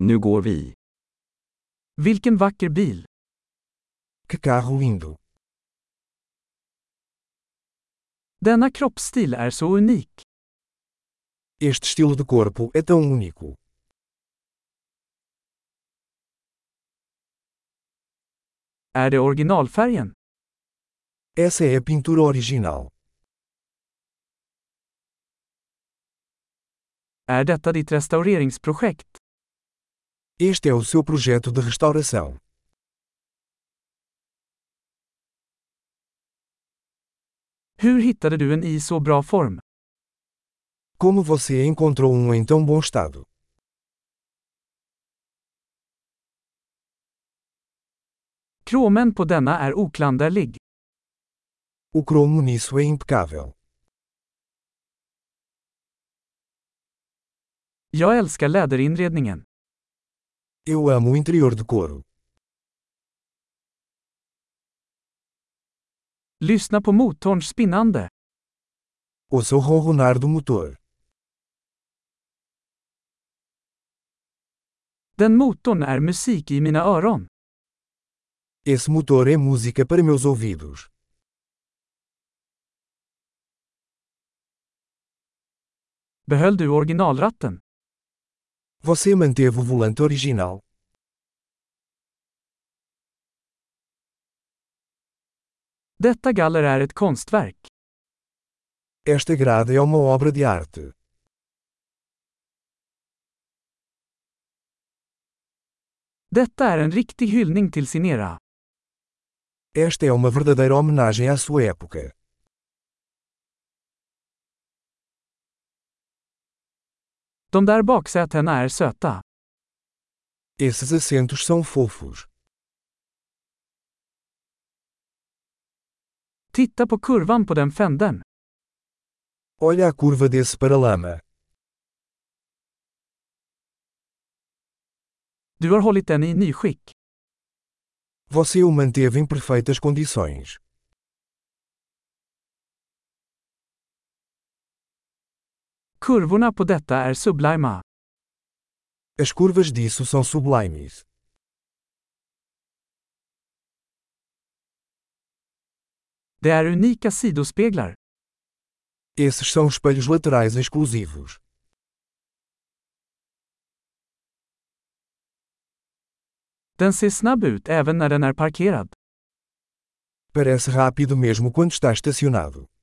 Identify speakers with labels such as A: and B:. A: Nu går vi.
B: Vilken vacker bil!
C: Que carro lindo!
B: Denna kroppsstil är så unik.
C: Este estilo de corpo é tão único.
B: Är det originalfärgen?
C: Essa é a pintura original.
B: Är detta ditt restaureringsprojekt?
C: Este é o seu projeto de restauração.
B: Hur hittade du en i så bra form?
C: Como você encontrou um em tão bom estado?
B: Kromen på denna är oklanderlig.
C: O cromo nisso é impecável.
B: Jag älskar läderinredningen.
C: Eu amo o interior de couro.
B: Lyssna på motorns spinnande.
C: Ouça o ronronar do motor.
B: Den motorn är musik i mina öron.
C: Esse motor é música para meus ouvidos.
B: Behöll du originalratten?
C: Você manteve o volante original.
B: Detta galler är ett konstverk.
C: Esta grade é uma obra de arte.
B: Detta är en riktig hyllning till sin era.
C: Esta é uma verdadeira homenagem à sua época.
B: De där baksätena är söta.
C: Esses assentos são fofos.
B: Titta på kurvan på den fänden.
C: Olha a curva desse paralama.
B: Du har hållit den i nyskick.
C: Você o manteve em perfeitas condições.
B: Kurvorna på detta är sublima.
C: As curvas disso são sublimes.
B: Det är unika sidospeglar.
C: Esses são espelhos laterais exclusivos.
B: Den ser snabb ut även när den är parkerad.
C: Parece rápido mesmo quando está estacionado.